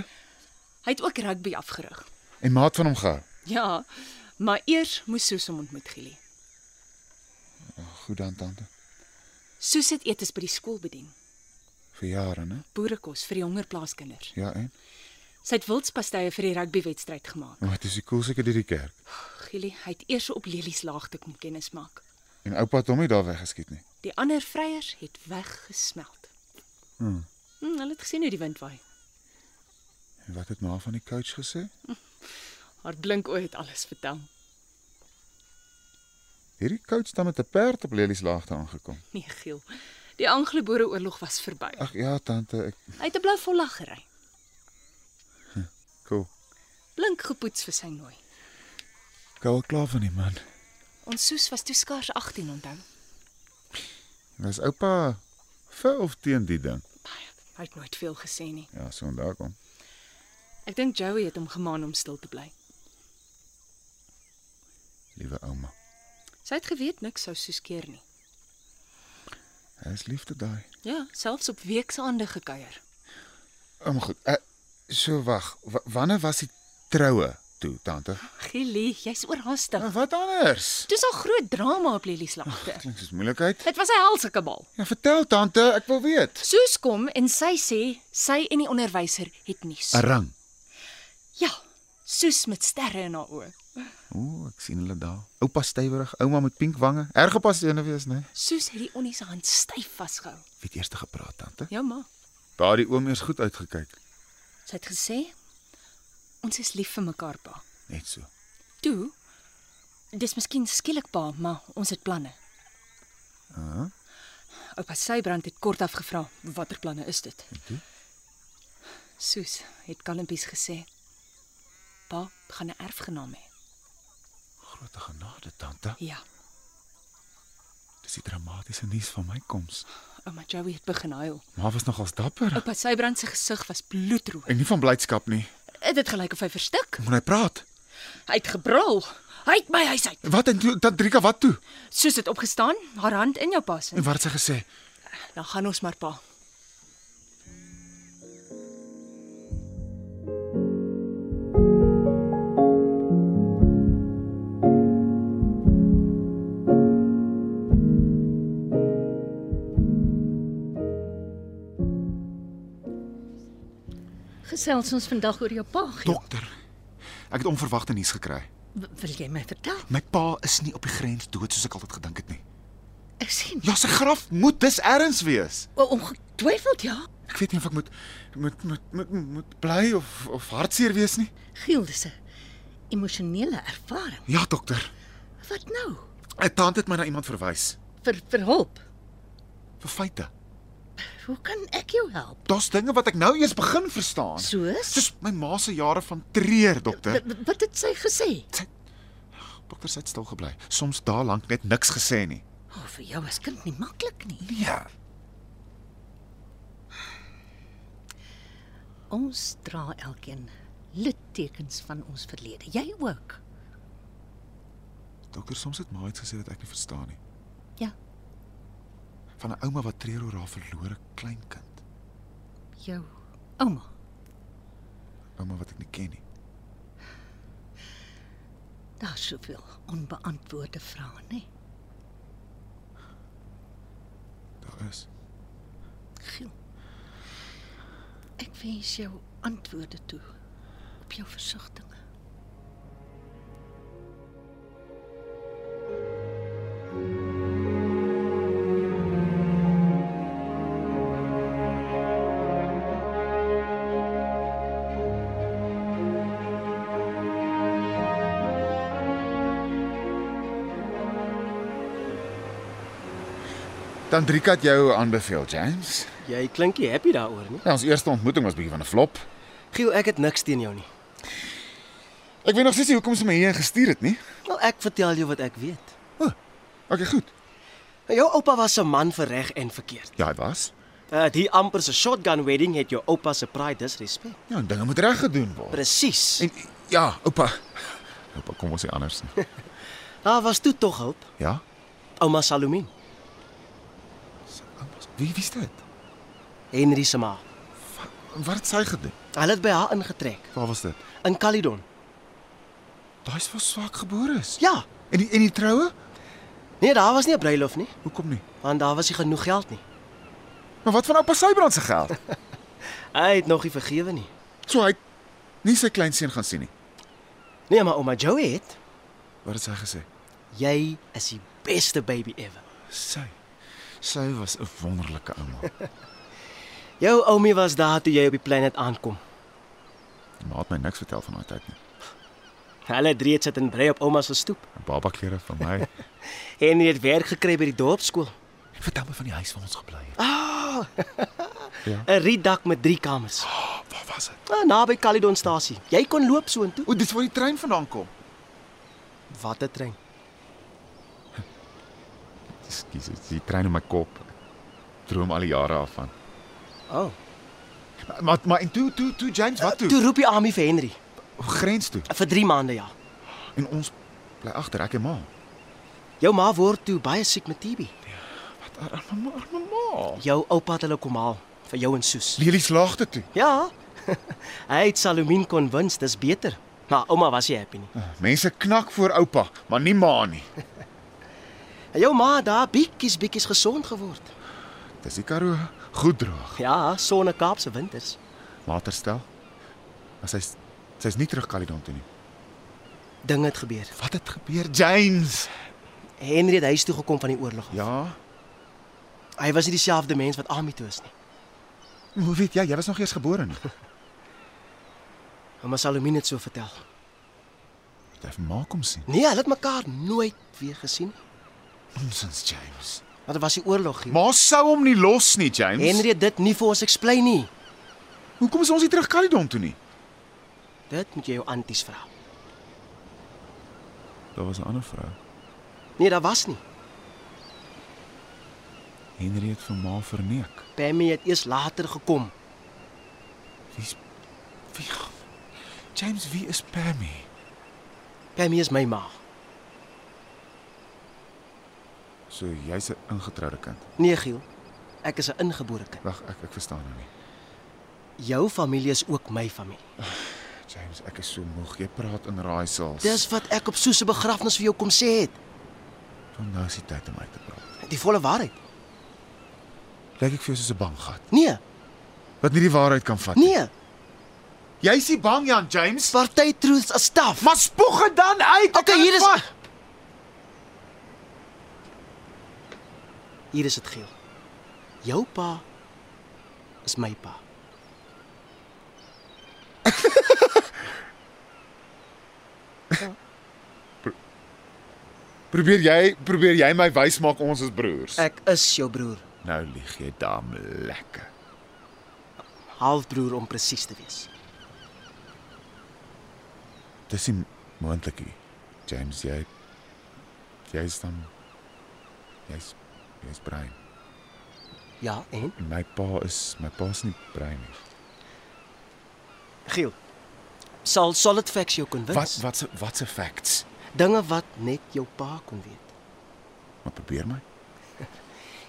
[SPEAKER 4] Hy het ook rugby afgerig.
[SPEAKER 2] En maat van hom gehou.
[SPEAKER 4] Ja, maar eers moes Soos hom ontmoet Gielie.
[SPEAKER 2] Oh, Goed dan tante.
[SPEAKER 4] Soos het etes by die skool bedien.
[SPEAKER 2] Vir jare, né?
[SPEAKER 4] Boerekos vir die hongerplaaskinders.
[SPEAKER 2] Ja, en.
[SPEAKER 4] Sy het wildspastye vir die rugbywedstryd gemaak.
[SPEAKER 2] Maar dit is die koelseker deur die kerk.
[SPEAKER 4] Gielie, hy het eers op Lelies laagte kom kennis maak.
[SPEAKER 2] En oupa het hom nie daar weggeskiet nie.
[SPEAKER 4] Die ander vryers het weggesmelt.
[SPEAKER 2] Hm.
[SPEAKER 4] Hm, hulle het gesien hoe die wind waai.
[SPEAKER 2] En wat het ma van die coach gesê?
[SPEAKER 4] Haar blink oë het alles vertel.
[SPEAKER 2] Hierdie coach dan met 'n perd op Lelies laagte aangekom.
[SPEAKER 4] Nee, Giel. Die Anglo-Boereoorlog was verby.
[SPEAKER 2] Ag ja, tante, ek
[SPEAKER 4] Hy het 'n blou volla gery.
[SPEAKER 2] cool.
[SPEAKER 4] Blink gepoets vir sy nooi.
[SPEAKER 2] Ek hou al klaar van die man.
[SPEAKER 4] Ons soos was toe skaars 18 onthou.
[SPEAKER 2] Was oupa vir of teen die ding?
[SPEAKER 4] Baie. Hy het nooit veel gesê nie.
[SPEAKER 2] Ja, so en daar kom.
[SPEAKER 4] Ek dink Joey het hom gemaan om stil te bly.
[SPEAKER 2] Liewe ouma.
[SPEAKER 4] Sy het geweet niks sou soos keer nie.
[SPEAKER 2] Hy is liefde daai.
[SPEAKER 4] Ja, selfs op weksaande gekuier.
[SPEAKER 2] Oh, maar goed. Uh, so wag, wa- wanneer was die troue toe, tante?
[SPEAKER 4] Ja. Gielie, jy's oorhaastig.
[SPEAKER 2] Uh, wat anders?
[SPEAKER 4] Dis al groot drama op Lily se lagte.
[SPEAKER 2] Klink soos moeilikheid.
[SPEAKER 4] Dit was 'n helse kabal.
[SPEAKER 2] Ja, vertel tante, ek wil weet.
[SPEAKER 4] Soos kom en sy sê sy en die onderwyser het nuus.
[SPEAKER 2] 'n Ring.
[SPEAKER 4] Ja, soos met sterre in haar oë.
[SPEAKER 2] Ooh, ek sien hulle daar. Oupa stywerig, ouma met pink wange. Erg gepas eene wees, né? Nee.
[SPEAKER 4] Soos het die onnie se hand styf vasgehou.
[SPEAKER 2] Wie het eers te gepraat, tante?
[SPEAKER 4] Ja ma,
[SPEAKER 2] Daardie oom eers goed uitgekyk.
[SPEAKER 4] sy het gesê ons is lief vir mekaar pa.
[SPEAKER 2] Net so.
[SPEAKER 4] Toe dis miskien skielik pa, maar ons het planne.
[SPEAKER 2] Uh,
[SPEAKER 4] Oupa Sybrand het kort afgevra watter planne is dit. Soos het Kalimpies gesê. Pa gaan 'n erfgenaam hê.
[SPEAKER 2] groot genade, tante.
[SPEAKER 4] Ja,
[SPEAKER 2] Dis die dramatiese nuus van my koms.
[SPEAKER 4] ouma Joey het begin huil.
[SPEAKER 2] Maar was nogals dapper
[SPEAKER 4] Oupa Sybrand se gesig was bloedrooi.
[SPEAKER 2] en nie van blydskap nie.
[SPEAKER 4] Dit het gelyk of hy verstik.
[SPEAKER 2] Moet hy praat?
[SPEAKER 4] Hy het gebrul. Hy het my huis uit.
[SPEAKER 2] Wat en toe dan Drika wat toe?
[SPEAKER 4] Soos het opgestaan, haar hand in jou pas.
[SPEAKER 2] En wat het sy gesê?
[SPEAKER 4] Dan gaan ons maar pa.
[SPEAKER 5] Gesels ons vandag oor jou pa. Giel.
[SPEAKER 2] Dokter, ek het onverwagte nuus gekry.
[SPEAKER 5] W- Wil jy my vertel?
[SPEAKER 2] My pa is nie op die grens dood soos ek altyd gedink het nie.
[SPEAKER 5] Ek sien.
[SPEAKER 2] Ja, sy graf moet dis erns wees.
[SPEAKER 5] O, ongetwyfeld ja.
[SPEAKER 2] Ek weet nie of ek moet moet moet moet, moet bly of of hartseer wees nie.
[SPEAKER 5] Giel, dis 'n emosionele ervaring.
[SPEAKER 2] Ja, dokter.
[SPEAKER 5] Wat nou?
[SPEAKER 2] 'n Tante het my na iemand verwys
[SPEAKER 5] Vir vir hulp.
[SPEAKER 2] vir feite.
[SPEAKER 5] Hoe kan ek jou help?
[SPEAKER 2] Daar's dinge wat ek nou eers begin verstaan.
[SPEAKER 5] Soos?
[SPEAKER 2] Soos my ma se jare van treur, dokter.
[SPEAKER 5] W- Wat het sy gesê?
[SPEAKER 2] Dokter sit stil gebly. Soms daar lank net niks gesê nie.
[SPEAKER 5] O, vir jou as kind nie maklik nie.
[SPEAKER 2] Nee.
[SPEAKER 5] Ons dra elkeen littekens van ons verlede. Jy ook.
[SPEAKER 2] Dokter, soms het ma iets gesê wat ek nie verstaan nie.
[SPEAKER 5] Ja.
[SPEAKER 2] Van 'n ouma wat treur oor haar verlore kleinkind.
[SPEAKER 5] Jou ouma.
[SPEAKER 2] Ouma wat ek nie ken nie.
[SPEAKER 5] Daar's soveel onbeantwoorde vrae, nê?
[SPEAKER 2] Daar is.
[SPEAKER 5] Giel. Ek wens jou antwoorde toe op jou versigtiging.
[SPEAKER 2] Tandrika het jou aanbeveel, James.
[SPEAKER 3] Jy klink nie happy daaroor nie.
[SPEAKER 2] Ja, ons eerste ontmoeting was bietjie van 'n flop.
[SPEAKER 3] Giel, ek het niks teen jou nie.
[SPEAKER 2] Ek weet nog steeds nie hoekom sy my hierheen gestuur het nie.
[SPEAKER 3] Wel, ek vertel jou wat ek weet. Nou,
[SPEAKER 2] Okay, goed.
[SPEAKER 3] Jou oupa was 'n man vir reg en verkeerd.
[SPEAKER 2] Ja, hy was.
[SPEAKER 3] Uh, die amper se shotgun wedding het jou oupa se pride disrespek.
[SPEAKER 2] Ja, en dinge moet reg gedoen word.
[SPEAKER 3] Presies.
[SPEAKER 2] En ja, oupa. Oupa, kom ons sê anders. nie.
[SPEAKER 3] Daar was toe tog hulp.
[SPEAKER 2] Ja?
[SPEAKER 3] Ouma Salomien,
[SPEAKER 2] Wie wie is dit?
[SPEAKER 3] Henry se ma.
[SPEAKER 2] Wat het sy gedoen?
[SPEAKER 3] Hulle het by haar ingetrek
[SPEAKER 2] Waar was dit?
[SPEAKER 3] in Caledon.
[SPEAKER 2] Daai's vir swak gebore is.
[SPEAKER 3] Ja.
[SPEAKER 2] En die, en die troue?
[SPEAKER 3] Nee, daar was nie 'n bruilof nie,
[SPEAKER 2] Hoekom nie?
[SPEAKER 3] want daar was nie genoeg geld nie.
[SPEAKER 2] Maar wat van oupa Sybrand se geld?
[SPEAKER 3] Hy het nog nie vergewe nie.
[SPEAKER 2] so hy het nie sy kleinseun gaan sien nie.
[SPEAKER 3] Nee, maar ouma Joey het,
[SPEAKER 2] Wat het sy gesê?
[SPEAKER 3] jy is die beste baby ever.
[SPEAKER 2] Sy. Sy was 'n wonderlike ouma.
[SPEAKER 3] Jou oumie was daar toe jy op die planet aankom.
[SPEAKER 2] Maar het my niks vertel van daai tyd nie.
[SPEAKER 3] Hulle drie het sit en brei op ouma se stoep.
[SPEAKER 2] Baba klere van my.
[SPEAKER 3] Henry het werk gekry by die dorpsskool.
[SPEAKER 2] Vertel my van die huis waar ons gebly het.
[SPEAKER 3] 'n Rietdak met 3 kamers.
[SPEAKER 2] Ah, waar was dit?
[SPEAKER 3] Ah, Naby Caledonstasie. Jy kon loop soontoe.
[SPEAKER 2] O, dis waar die trein vandaan kom.
[SPEAKER 3] Wat 'n trein.
[SPEAKER 2] Ekskuus, dis die trein in my kop. Ek Droom al die jare daarvan.
[SPEAKER 3] O. Oh.
[SPEAKER 2] Maar maar en toe toe toe James, wat toe?
[SPEAKER 3] Toe roep die Ami vir Henry
[SPEAKER 2] Grens Ah, toe.
[SPEAKER 3] vir 3 maande ja.
[SPEAKER 2] En ons bly agter ek en ma.
[SPEAKER 3] Jou ma word toe baie siek met TB.
[SPEAKER 2] Wat arme ma, arme ma.
[SPEAKER 3] Jou oupa het hulle kom haal vir jou en Soos.
[SPEAKER 2] Lelie slaagte toe.
[SPEAKER 3] Ja. Hy het Salomien kon wins, dis beter. Maar ouma was nie happy nie.
[SPEAKER 2] Ah. Mense knak voor oupa, maar nie ma nie.
[SPEAKER 3] En jou ma het daar bietjies bietjies gesond geword.
[SPEAKER 2] Dis die Karoo, goed droog.
[SPEAKER 3] Ja, sonne Kaapse winters.
[SPEAKER 2] Waterstel. Maar sy's sy's nie terug Caledon toe nie.
[SPEAKER 3] Dinge het gebeur.
[SPEAKER 2] Wat het gebeur, James?
[SPEAKER 3] Henry het huis toe gekom van die oorlog. af.
[SPEAKER 2] Ja,
[SPEAKER 3] Hy was nie dieselfde mens wat Ami toe is nie.
[SPEAKER 2] hoe weet jy, jy was nog eers gebore nie.
[SPEAKER 3] Ouma Salomien het so vertel.
[SPEAKER 2] Jy het ma kom sien.
[SPEAKER 3] Nee, hulle het mekaar nooit weer gesien nie.
[SPEAKER 2] Nonsens, James.
[SPEAKER 3] Want dit was die oorlog hier.
[SPEAKER 2] Ma sou hom nie los nie, James.
[SPEAKER 3] Henry het dit nie vir ons explain nie.
[SPEAKER 2] hoekom is ons nie terug Caledon toe nie?
[SPEAKER 3] Dit moet jy jou anties vra.
[SPEAKER 2] Daar was 'n ander vrou.
[SPEAKER 3] Nee, daar was nie.
[SPEAKER 2] Henry het vir ma verneek.
[SPEAKER 3] Pammy het eers later gekom.
[SPEAKER 2] Wie's wie? James, wie is Pammy?
[SPEAKER 3] Pammy is my ma.
[SPEAKER 2] So jy's 'n ingetroude kind.
[SPEAKER 3] Nee, Giel. Ek is 'n ingebore kind.
[SPEAKER 2] Wag, ek ek verstaan nou nie.
[SPEAKER 3] Jou familie is ook my familie.
[SPEAKER 2] James, ek is so moeg. Jy praat in raaisels.
[SPEAKER 3] Dis wat ek op Soos se begrafnis vir jou kom sê het.
[SPEAKER 2] van nou is die tyd om uit te praat.
[SPEAKER 3] Die volle waarheid.
[SPEAKER 2] Lyk ek vir jou soos 'n banggat
[SPEAKER 3] Nee,
[SPEAKER 2] wat nie die waarheid kan vat
[SPEAKER 3] nee.
[SPEAKER 2] Jy's nie bang Jan James?
[SPEAKER 3] Party truths as staf.
[SPEAKER 2] Maar spoeg dit dan uit. ek
[SPEAKER 3] Okay,
[SPEAKER 2] kan
[SPEAKER 3] hier
[SPEAKER 2] dit
[SPEAKER 3] is-
[SPEAKER 2] vat.
[SPEAKER 3] Hier is dit geel. Jou pa is my pa.
[SPEAKER 2] Probeer jy probeer jy my wys maak ons is broers.
[SPEAKER 3] Ek is jou broer,
[SPEAKER 2] Nou lieg jy dam lekker.
[SPEAKER 3] halfbroer om presies te wees.
[SPEAKER 2] Dis nie moontlik nie. James, jy jy's dan jy's jy's brein.
[SPEAKER 3] Ja, en
[SPEAKER 2] My pa is my pa's nie brein nie.
[SPEAKER 3] geel. Sal solid facts jou kon
[SPEAKER 2] Wat
[SPEAKER 3] wins.
[SPEAKER 2] wat se wat se facts?
[SPEAKER 3] Dinge wat net jou pa kon weet.
[SPEAKER 2] Maar probeer my.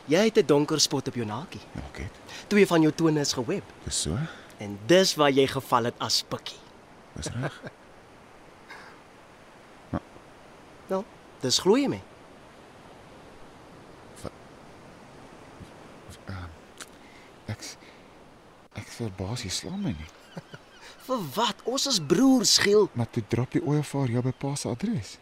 [SPEAKER 3] Jy het 'n donker spot op jou nakie.
[SPEAKER 2] Ja, okay.
[SPEAKER 3] Twee van jou tone is geweb
[SPEAKER 2] Dis so.
[SPEAKER 3] en dis waar jy geval het as pikkie.
[SPEAKER 2] Dis reg.
[SPEAKER 3] Wel, Nou, dis glo jy my.
[SPEAKER 2] Ehm, Ek s- ek verbaas jy slaan my nie.
[SPEAKER 3] Vir wat? Ons is broers, geel.
[SPEAKER 2] Maar toe drop jy oë vir haar jou by pa se adres.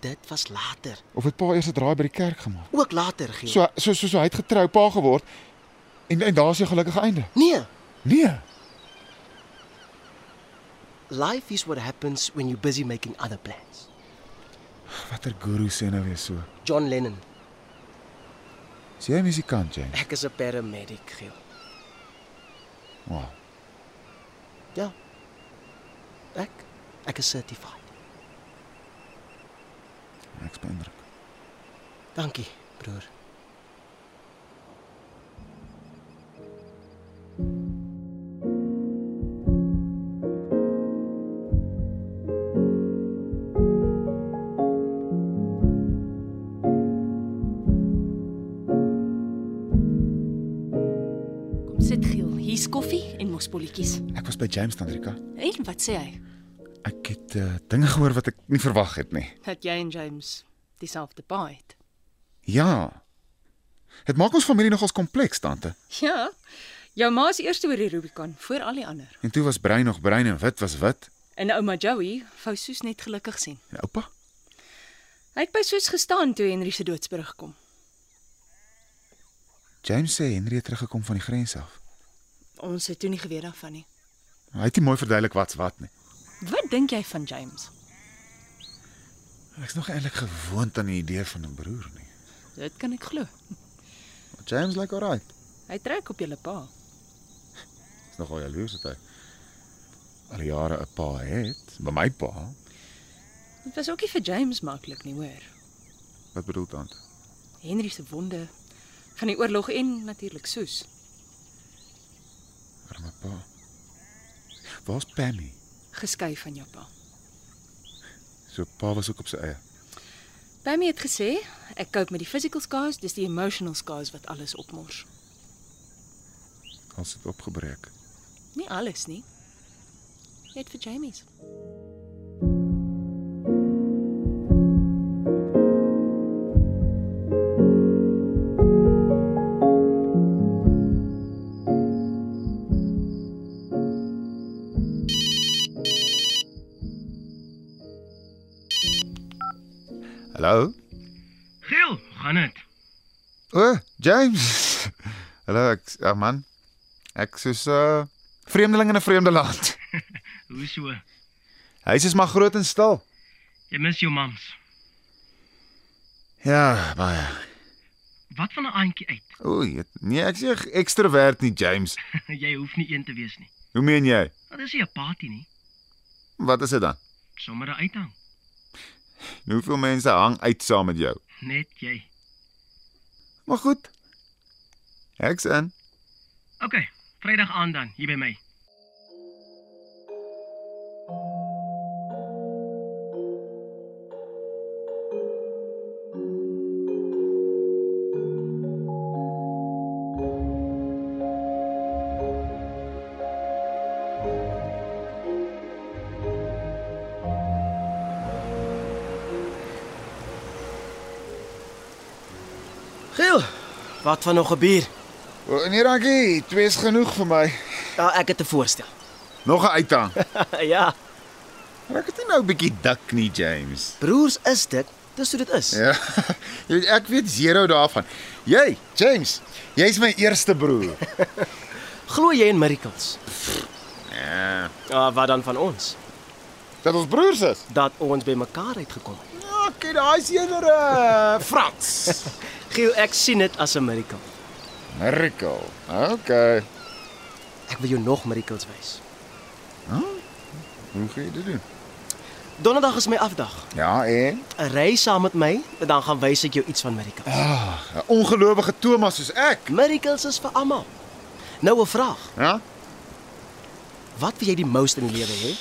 [SPEAKER 3] Dit was later.
[SPEAKER 2] Of het pa eers 'n draai by die kerk gemaak?
[SPEAKER 3] Ook later, geel.
[SPEAKER 2] So so so, so hy het getrou pa geword. En en daar's 'n gelukkige einde.
[SPEAKER 3] Nee,
[SPEAKER 2] Nee.
[SPEAKER 3] life is what happens when you busy making other plans.
[SPEAKER 2] Watter guru sê nou weer so?
[SPEAKER 3] John Lennon.
[SPEAKER 2] Is jy 'n musikant, James?
[SPEAKER 3] Ek is 'n paramedic, geel.
[SPEAKER 2] Wow.
[SPEAKER 3] Ja. Ek ek is certified.
[SPEAKER 2] Ek's beïndruk.
[SPEAKER 3] Dankie, broer.
[SPEAKER 4] Kom sit Giel, hier's koffie en mosbolletjies.
[SPEAKER 2] Ek was by James Tandrika.
[SPEAKER 4] En wat sê hy?
[SPEAKER 2] Ek het uh, dinge gehoor wat ek nie verwag het nie.
[SPEAKER 4] Dat jy en James dieselfde pa het.
[SPEAKER 2] Ja. Dit maak ons familie nogals kompleks, tante.
[SPEAKER 4] Ja. Jou ma is eers oor die Rubicon voor al die ander.
[SPEAKER 2] En toe was brein nog brein en wit was wit.
[SPEAKER 4] En nou ouma Joey wou Soos net gelukkig sien.
[SPEAKER 2] En oupa?
[SPEAKER 4] Hy het by Soos gestaan toe Henry se doodsbrug kom.
[SPEAKER 2] James sê Henry het teruggekom van die grens af.
[SPEAKER 4] Ons het toe nie geweet daarvan nie.
[SPEAKER 2] Hy het nie mooi verduidelik wat's wat nie.
[SPEAKER 4] Wat dink jy van James?
[SPEAKER 2] Ek's nog eintlik gewoond aan die idee van 'n broer nie.
[SPEAKER 4] Dit kan ek glo.
[SPEAKER 2] Maar James lyk like alright.
[SPEAKER 4] Hy trek op julle pa.
[SPEAKER 2] Ek's nogal jaloers dat hy al die jare 'n pa het, by my pa.
[SPEAKER 4] Dit was ook nie vir James maklik nie, hoor.
[SPEAKER 2] Wat bedoel tante?
[SPEAKER 4] Henry se wonde van die oorlog en natuurlik Soos.
[SPEAKER 2] Arme pa. Waar's Pammy?
[SPEAKER 4] geskei van jou pa.
[SPEAKER 2] So pa was ook op sy eie.
[SPEAKER 4] Pammy het gesê, ek cope met die physical scars, dis die emotional scars wat alles opmors.
[SPEAKER 2] Ons het opgebreek.
[SPEAKER 4] Nie alles nie. Net vir Jamie's.
[SPEAKER 2] Hallo?
[SPEAKER 6] Giel, gaan dit?
[SPEAKER 2] O, oh, James. Hallo, ek ah, man. Ek soos 'n uh, vreemdeling in 'n vreemde land.
[SPEAKER 6] Hoe so?
[SPEAKER 2] Huis is maar groot en stil.
[SPEAKER 6] Jy mis jou mams.
[SPEAKER 2] Ja, baie.
[SPEAKER 6] Wat van 'n aantjie uit?
[SPEAKER 2] Oei, het- nee, ek sê ek- ekstrovert nie, James.
[SPEAKER 6] jy hoef nie een te wees nie.
[SPEAKER 2] Hoe meen jy?
[SPEAKER 6] Dit is nie 'n party nie,
[SPEAKER 2] Wat is dit dan?
[SPEAKER 6] sommer 'n uithang.
[SPEAKER 2] Hoeveel mense hang uit saam met jou?
[SPEAKER 6] Net jy.
[SPEAKER 2] Maar goed. Ek's in.
[SPEAKER 6] OK, Vrydag aand dan hier by my.
[SPEAKER 3] Geel, wat van nog 'n bier?
[SPEAKER 2] O, oh, nee, dankie. Twee is genoeg vir my.
[SPEAKER 3] Ja, ek het Ah, 'n voorstel.
[SPEAKER 2] Nog 'n uithang.
[SPEAKER 3] ja,
[SPEAKER 2] Maar ek het nie nou 'n bietjie dik nie, James.
[SPEAKER 3] broers is dit. Dis hoe dit is.
[SPEAKER 2] Ja. Jy weet, Ek weet zero daarvan. Jy, James, jy's my eerste broer.
[SPEAKER 3] Glo jy in miracles?
[SPEAKER 2] Ja.
[SPEAKER 3] Ah, wat dan van ons?
[SPEAKER 2] Dat ons broers is.
[SPEAKER 3] Dat ons bymekaar uitgekom het.
[SPEAKER 2] Okay, daai is eerder uh, Frans.
[SPEAKER 3] Giel, ek sien dit as 'n miracle.
[SPEAKER 2] Miracle. Okay.
[SPEAKER 3] Ek wil jou nog miracles wys.
[SPEAKER 2] Hoe gaan jy dit doen?
[SPEAKER 3] Donderdag is my afdag.
[SPEAKER 2] Ja, en
[SPEAKER 3] 'n Ry saam met my Ah. en dan gaan wys ek jou iets van miracles.
[SPEAKER 2] 'n ongelowige Thomas soos ek.
[SPEAKER 3] Miracles is vir almal. Nou 'n vraag.
[SPEAKER 2] Ja?
[SPEAKER 3] Wat wil jy die most in die lewe hê?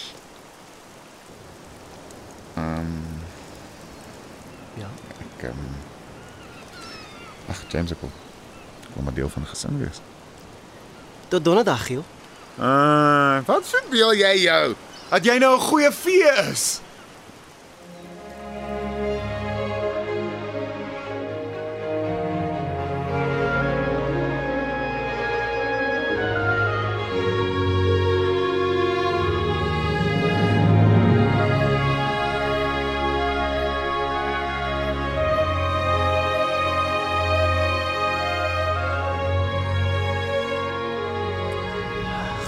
[SPEAKER 3] Ehm um... Ja,
[SPEAKER 2] Ek um... Ag, James ek wil ek wil maar deel van 'n gesin wees.
[SPEAKER 3] tot donderdag, Giel.
[SPEAKER 2] Uh, wat verbeel jy jou? Dat jy nou 'n goeie vee is.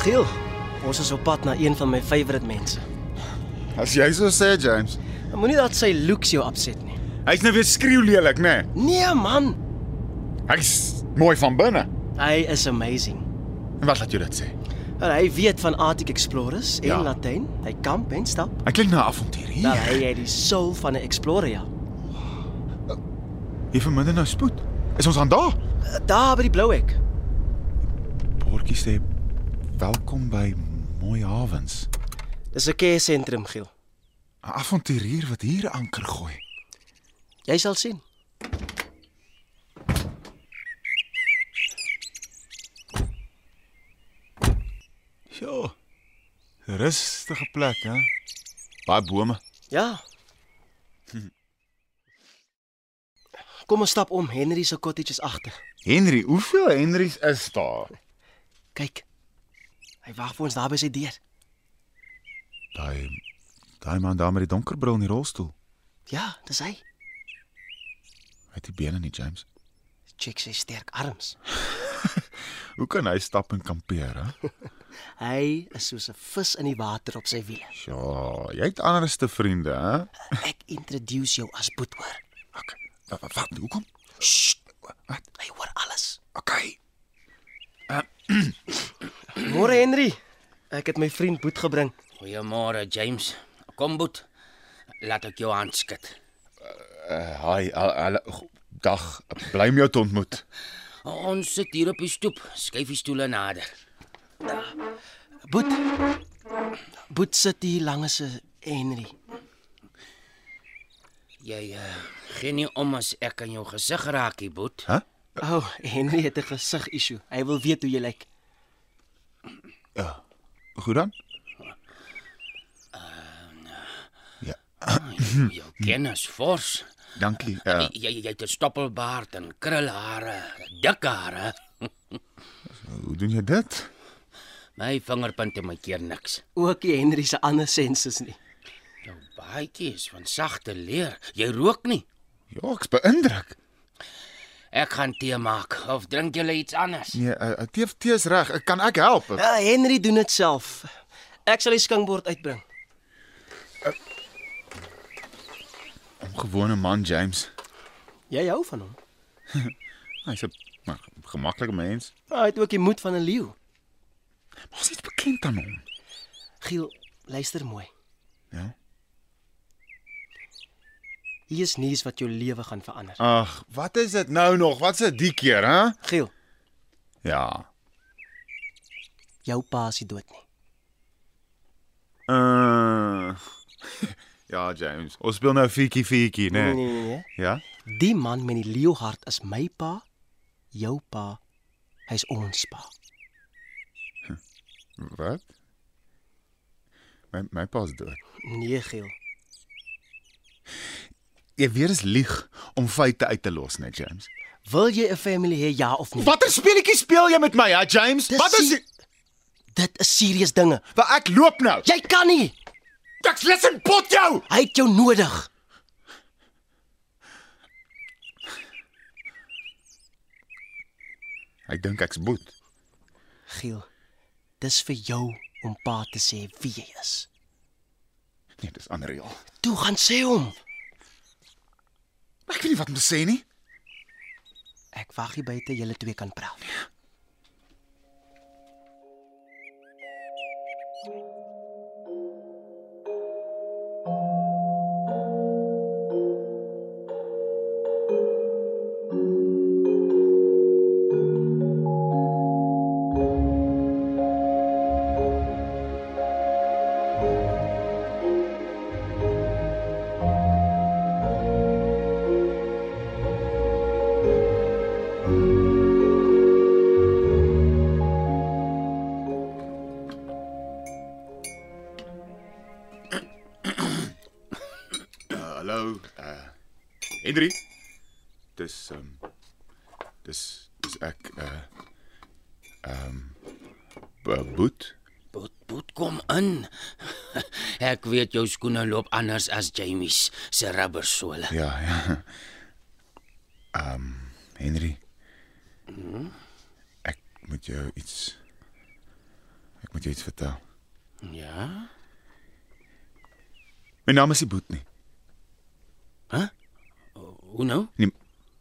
[SPEAKER 3] Giel, ons is op pad na een van my favourite mense.
[SPEAKER 2] As jy so sê, James.
[SPEAKER 3] Moenie dat sy looks jou opset nie.
[SPEAKER 2] Hy's nou weer skreeu lelik, né? Nee.
[SPEAKER 3] Nee man,
[SPEAKER 2] Hy's mooi van binne.
[SPEAKER 3] hy is amazing.
[SPEAKER 2] En wat laat jou dit sê?
[SPEAKER 3] En hy weet van Arctic Explorers en
[SPEAKER 2] Ja.
[SPEAKER 3] ja. Latyn. Hy kamp en stap.
[SPEAKER 2] Hy klink na 'n avontuur hier.
[SPEAKER 3] Nou hy het die soul van 'n explorer ja.
[SPEAKER 2] Hier verminder nou spoed. Is ons aan daar?
[SPEAKER 3] Daar by die blou hek.
[SPEAKER 2] Bordjie sê welkom by Mooi Hawens.
[SPEAKER 3] Dis 'n care sentrum, Giel.
[SPEAKER 2] 'n Avonturier wat hier anker gooi.
[SPEAKER 3] Jy sal sien.
[SPEAKER 2] Ja. Rustige plek, hè? Baie bome.
[SPEAKER 3] Ja. Kom ons stap om Henry se cottage is agter.
[SPEAKER 2] Henry, hoeveel Henrys is daar?
[SPEAKER 3] Kyk. Hy wag vir ons daar by sy deur.
[SPEAKER 2] Daai daai man daar met die donker bril in die rolstoel.
[SPEAKER 3] Ja, dis hy.
[SPEAKER 2] Hy het die bene nie, James.
[SPEAKER 3] Check sy sterk arms.
[SPEAKER 2] Hoe kan hy stap en kampeer, hè?
[SPEAKER 3] Hy is soos 'n vis in die water op sy wiele.
[SPEAKER 2] Ja, jy het anderste vriende, hè?
[SPEAKER 3] Ek introduce jou as boethoor.
[SPEAKER 2] Okay. Wat wat, wat hoekom?
[SPEAKER 3] Sst,
[SPEAKER 2] Wat?
[SPEAKER 3] hy hoor alles.
[SPEAKER 2] Okay.
[SPEAKER 3] Môre Henry. Ek het my vriend Boet gebring.
[SPEAKER 7] Goeiemôre uh, James. Kom boet. Laat ek jou hand skud.
[SPEAKER 2] Uh, hi, hallo. Dag. Bly om jou te ontmoet.
[SPEAKER 7] Ons sit hier op die stoep. Skuif die stoele nader.
[SPEAKER 3] Boet. Boet sit hier langs se Henry.
[SPEAKER 7] Jy uh, gee nie om as ek aan jou gesig raak, nie, boet.
[SPEAKER 2] Hæ?
[SPEAKER 3] O, oh, Henry het 'n gesig issue. Hy wil weet hoe jy lyk.
[SPEAKER 2] Ja. Goed dan? Ja,
[SPEAKER 7] Jou ken is fors.
[SPEAKER 2] dankie. Uh,
[SPEAKER 7] Jy jy het 'n stoppelbaard en krulhare, dik hare.
[SPEAKER 2] hoe doen jy dit?
[SPEAKER 7] My vingerpunte maak keer niks.
[SPEAKER 3] Ook nie Henry se ander senses nie.
[SPEAKER 7] Jou baadjie is van sagte leer. Jy rook nie.
[SPEAKER 2] Ja, ek's beïndruk.
[SPEAKER 7] Ek gaan tee maak of drink jy iets anders?
[SPEAKER 2] Nee, uh, uh, teef teef is reg. Ek kan ek help. Uh,
[SPEAKER 3] Ja, Henry doen dit self. Ek sal die skinkbord uitbring.
[SPEAKER 2] gewone man James.
[SPEAKER 3] Jy hou van hom.
[SPEAKER 2] Hy's 'n maar, gemaklike mens.
[SPEAKER 3] Ja, Hy het ook die moed van 'n leeu.
[SPEAKER 2] Maar ons is bekend aan hom.
[SPEAKER 3] Giel, luister mooi.
[SPEAKER 2] Ja.
[SPEAKER 3] Hier is nuus wat jou lewe gaan verander.
[SPEAKER 2] Ag, wat is dit nou nog? Wat's dit die keer, hè?
[SPEAKER 3] Giel,
[SPEAKER 2] Ja.
[SPEAKER 3] jou pa is nie dood nie.
[SPEAKER 2] Uh Ja, James. Ons speel nou fietjie fietjie, né?
[SPEAKER 3] nee, nee, nee.
[SPEAKER 2] Ja.
[SPEAKER 3] Die man met die leeuhart is my pa, jou pa. Hy's ons pa.
[SPEAKER 2] Wat? My my pa's dood.
[SPEAKER 3] Nee, Giel.
[SPEAKER 2] Jy weer is lieg om feite uit te los, né, James?
[SPEAKER 3] Wil jy 'n family hê ja of nee?
[SPEAKER 2] Watter speletjie speel jy met my, hè, James?
[SPEAKER 3] Dis
[SPEAKER 2] Wat is
[SPEAKER 3] die-
[SPEAKER 2] die...
[SPEAKER 3] Dit is serieus dinge.
[SPEAKER 2] Maar ek loop nou.
[SPEAKER 3] Jy kan nie.
[SPEAKER 2] Ek lees in pot jou.
[SPEAKER 3] Hy het jou nodig.
[SPEAKER 2] Ek dink ek's boet.
[SPEAKER 3] Giel, dis vir jou om pa te sê wie jy is.
[SPEAKER 2] Nee, dis unreal.
[SPEAKER 3] Toe gaan sê hom.
[SPEAKER 2] Ek weet nie wat om te sê nie.
[SPEAKER 3] Ek wag hier buite, julle twee kan praat.
[SPEAKER 2] Hallo. Uh Henry. Dis ehm um, dis dis ek uh ehm um, boet.
[SPEAKER 7] Boet, boet kom in. Ek weet jou skoene loop anders as Jamie se rubbersole.
[SPEAKER 2] Ja, ja. Ehm um, Henry. Ek moet jou iets Ek moet jou iets vertel.
[SPEAKER 7] Ja?
[SPEAKER 2] My naam is nie Boet nie.
[SPEAKER 7] Hoe nou?
[SPEAKER 2] Nee,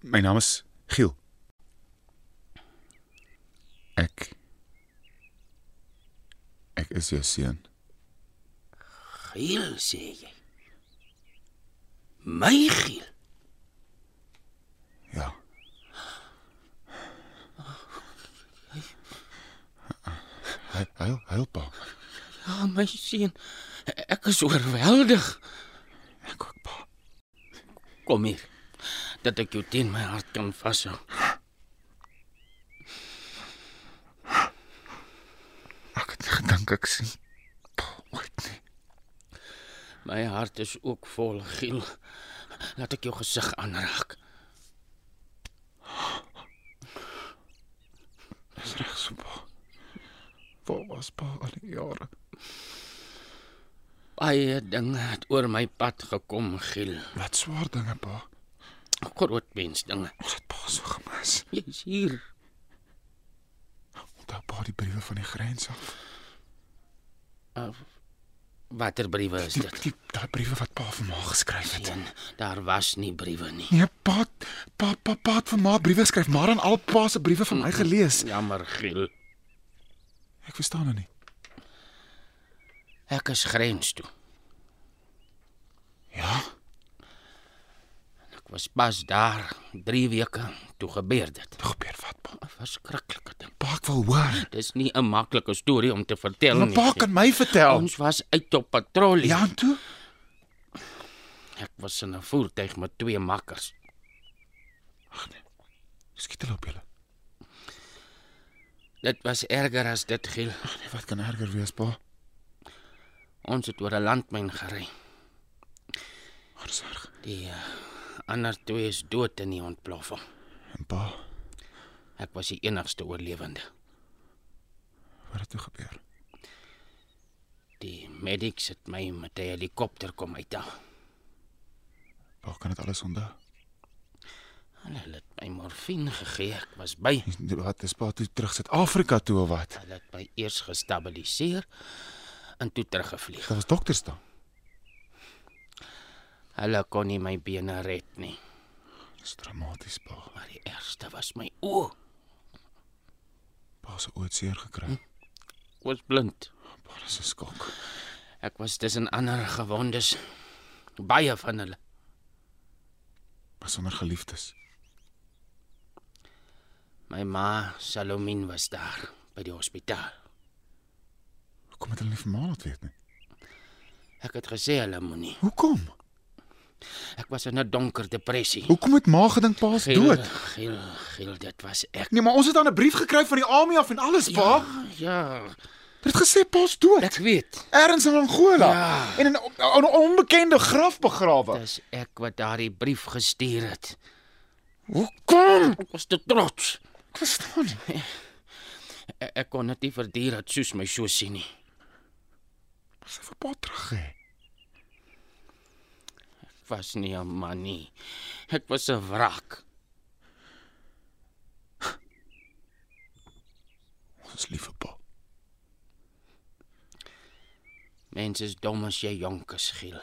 [SPEAKER 2] my naam is Giel. Ek Ek is jou seun.
[SPEAKER 7] Giel sê jy. My Giel.
[SPEAKER 2] Ja. Hy hy help pa.
[SPEAKER 7] Ja, my seun. Ek is oorweldig.
[SPEAKER 2] Ek ook pa.
[SPEAKER 7] Kom hier. Dat ek jou teen my hart kan vashou.
[SPEAKER 2] Ek het nie gedink ek sien pa ooit nie.
[SPEAKER 7] My hart is ook vol Giel. Laat ek jou gesig aanraak.
[SPEAKER 2] Dis reg so pa. Waar was pa al die jare?
[SPEAKER 7] Baie dinge het oor my pad gekom, Giel.
[SPEAKER 2] Wat swaar dinge pa.
[SPEAKER 7] Groot mens dinge.
[SPEAKER 2] Ons het pa so gemis.
[SPEAKER 7] Jy's hier.
[SPEAKER 2] Onthou pa die briewe van die grens af.
[SPEAKER 7] Watter briewe is
[SPEAKER 2] Die
[SPEAKER 7] dit?
[SPEAKER 2] Ja, die daai briewe wat pa vir ma geskryf het.
[SPEAKER 7] Seun, daar was nie briewe nie.
[SPEAKER 2] Nee, pa, het- pa pa pa het vir ma briewe skryf, maar aan al pa se briewe van my gelees.
[SPEAKER 7] Jammer, Giel.
[SPEAKER 2] Ek verstaan dit nie.
[SPEAKER 7] Ek is grens toe.
[SPEAKER 2] Ja.
[SPEAKER 7] Ek was pas daar 3 weke toe gebeur dit.
[SPEAKER 2] Toe gebeur wat pa.
[SPEAKER 7] 'n Verskriklike ding.
[SPEAKER 2] Pa ek wil hoor.
[SPEAKER 7] Dis nie 'n maklike storie om te vertel
[SPEAKER 2] Maar
[SPEAKER 7] nie.
[SPEAKER 2] pa kan my vertel.
[SPEAKER 7] Ons was uit op patrollie.
[SPEAKER 2] Ja, en toe?
[SPEAKER 7] Ek was in 'n voertuig met twee makkers.
[SPEAKER 2] Skiet hulle op julle.
[SPEAKER 7] Dit was erger as dit, Giel.
[SPEAKER 2] Nee, wat kan erger wees, pa?
[SPEAKER 7] Ons het oor 'n landmyn gery.
[SPEAKER 2] Maar dis erg.
[SPEAKER 7] Die uh, ander twee is dood in die ontploffing.
[SPEAKER 2] En pa,
[SPEAKER 7] Ek was die enigste oorlewende.
[SPEAKER 2] wat het toe gebeur?
[SPEAKER 7] Die medics het my met 'n helikopter kom ja. uithaal.
[SPEAKER 2] Pa kan dit alles onthou.
[SPEAKER 7] Hulle het my morfine gegee. Ek was by.
[SPEAKER 2] Dis- Wat is pa toe terug Suid-Afrika toe of wat?
[SPEAKER 7] Hulle het my eers gestabiliseer en toe teruggevlieg.
[SPEAKER 2] Daar was dokters daar.
[SPEAKER 7] Hulle kon nie my bene red nie,
[SPEAKER 2] Dis dramaties, pa.
[SPEAKER 7] maar die ergste was my oë.
[SPEAKER 2] Pa se oë het seer gekry.
[SPEAKER 7] Ek was blind.
[SPEAKER 2] Pa dis 'n skok.
[SPEAKER 7] Ek was tussen ander gewondes, baie van hulle.
[SPEAKER 2] Maar sonder geliefdes.
[SPEAKER 7] My ma, Salomien was daar by die hospitaal.
[SPEAKER 2] Hoekom het hulle nie vir ma laat weet nie?
[SPEAKER 7] Ek het gesê hulle moenie.
[SPEAKER 2] Hoekom?
[SPEAKER 7] Ek was in 'n donker depressie.
[SPEAKER 2] Hoekom het ma gedink pa is dood?
[SPEAKER 7] Gil, gil, dit was ek.
[SPEAKER 2] Nee, maar ons het dan 'n brief gekry van die army af en alles, pa. Ja.
[SPEAKER 7] Ja,
[SPEAKER 2] Dit het gesê pa's dood.
[SPEAKER 7] ek weet.
[SPEAKER 2] Ergens in Angola
[SPEAKER 7] Ja.
[SPEAKER 2] en in 'n- 'n onbekende graf begrawe.
[SPEAKER 7] Dis ek wat daardie brief gestuur het.
[SPEAKER 2] Hoekom?
[SPEAKER 7] Ek was te trots.
[SPEAKER 2] Ek verstaan nie.
[SPEAKER 7] Ek, ek kon net nie verduur dat Soos my so sien nie.
[SPEAKER 2] Sy vir pa terug hè.
[SPEAKER 7] Ek was nie 'n man nie. Ek was 'n wrak.
[SPEAKER 2] Ons is lief vir pa.
[SPEAKER 7] Mense is dom as jy jonk is, Giel.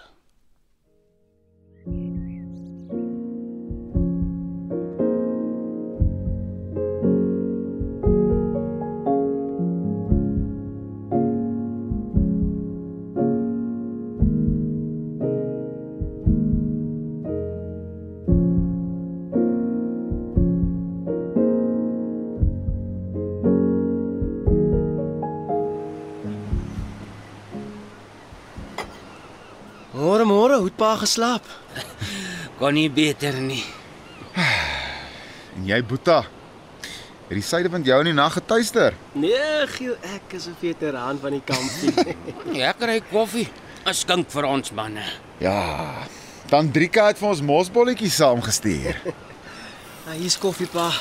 [SPEAKER 3] Môre môre, hoe het pa geslaap?
[SPEAKER 7] Kon nie beter nie.
[SPEAKER 2] En jy Boeta. Het die suidewind jou in die nag getuister?
[SPEAKER 3] Nee, Giel, ek is 'n veteraan van die kampie.
[SPEAKER 7] Ja, Ek kry koffie. 'n Skink vir ons manne.
[SPEAKER 2] Ja. Tandrika het vir ons mosbolletjies saamgestuur.
[SPEAKER 3] nou, hier's koffie, pa.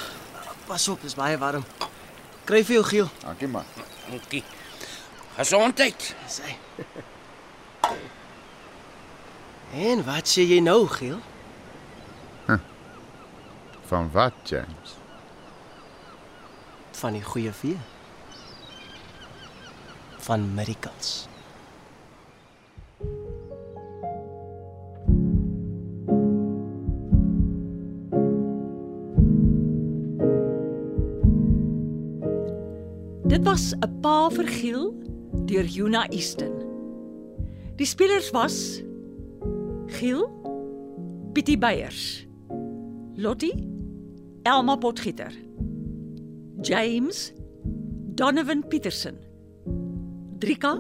[SPEAKER 3] Pas op, dis baie warm. Kry vir jou, Giel.
[SPEAKER 2] Dankie man.
[SPEAKER 7] Dankie. Gesondheid.
[SPEAKER 3] Dis hy. En wat sê jy nou, Giel?
[SPEAKER 2] Van wat, James?
[SPEAKER 3] Van die goeie vee. Van miracles.
[SPEAKER 1] Dit was 'n pa vir Giel deur Juna Easton. Die spelers was Giel, Pietie Beyers, Lottie, Elma Potgieter, James, Donovan Petersen, Drika,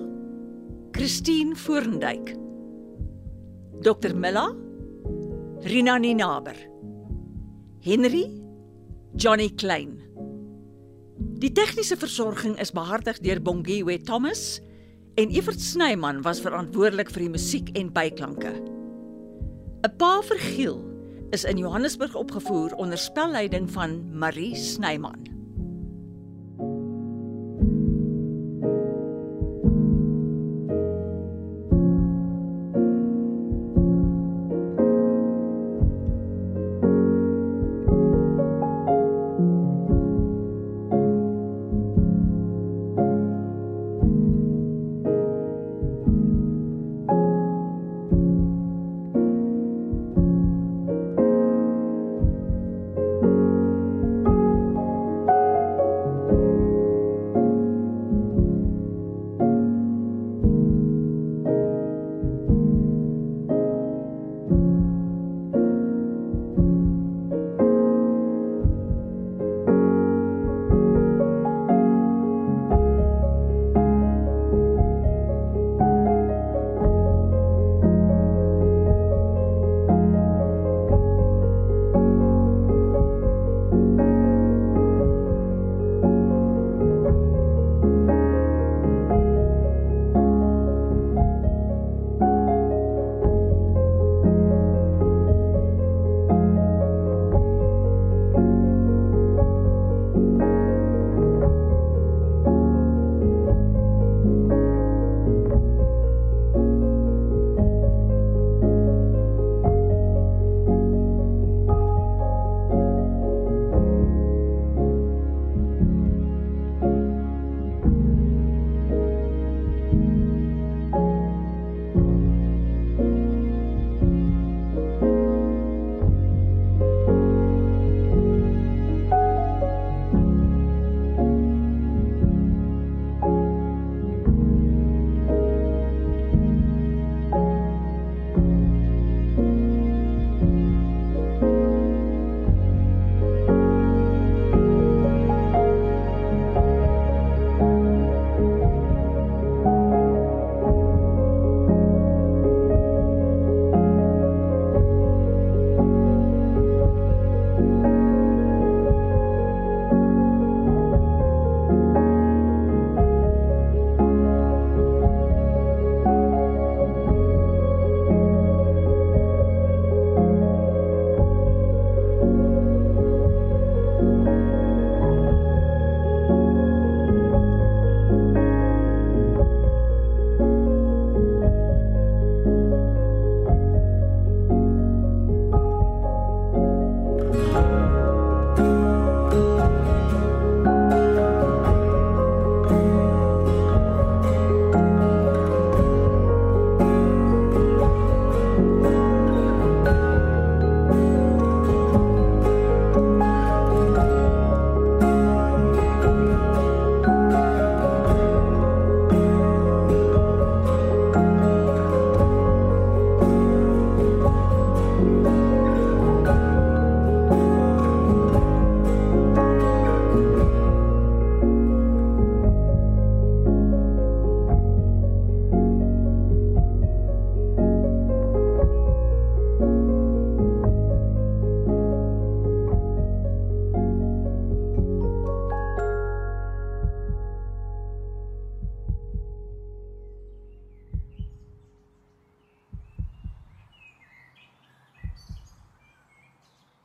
[SPEAKER 1] Christine Voorndijk, Dr Milla, Rina Ninaber, Henry, Johnny Klein. Die tegniese versorging is behartig deur Bongiwe Thomas en Evert Snyman was verantwoordelik vir die musiek en byklanke. 'n Pa vir Giel is in Johannesburg opgevoer onder spelleiding van Marie Snyman.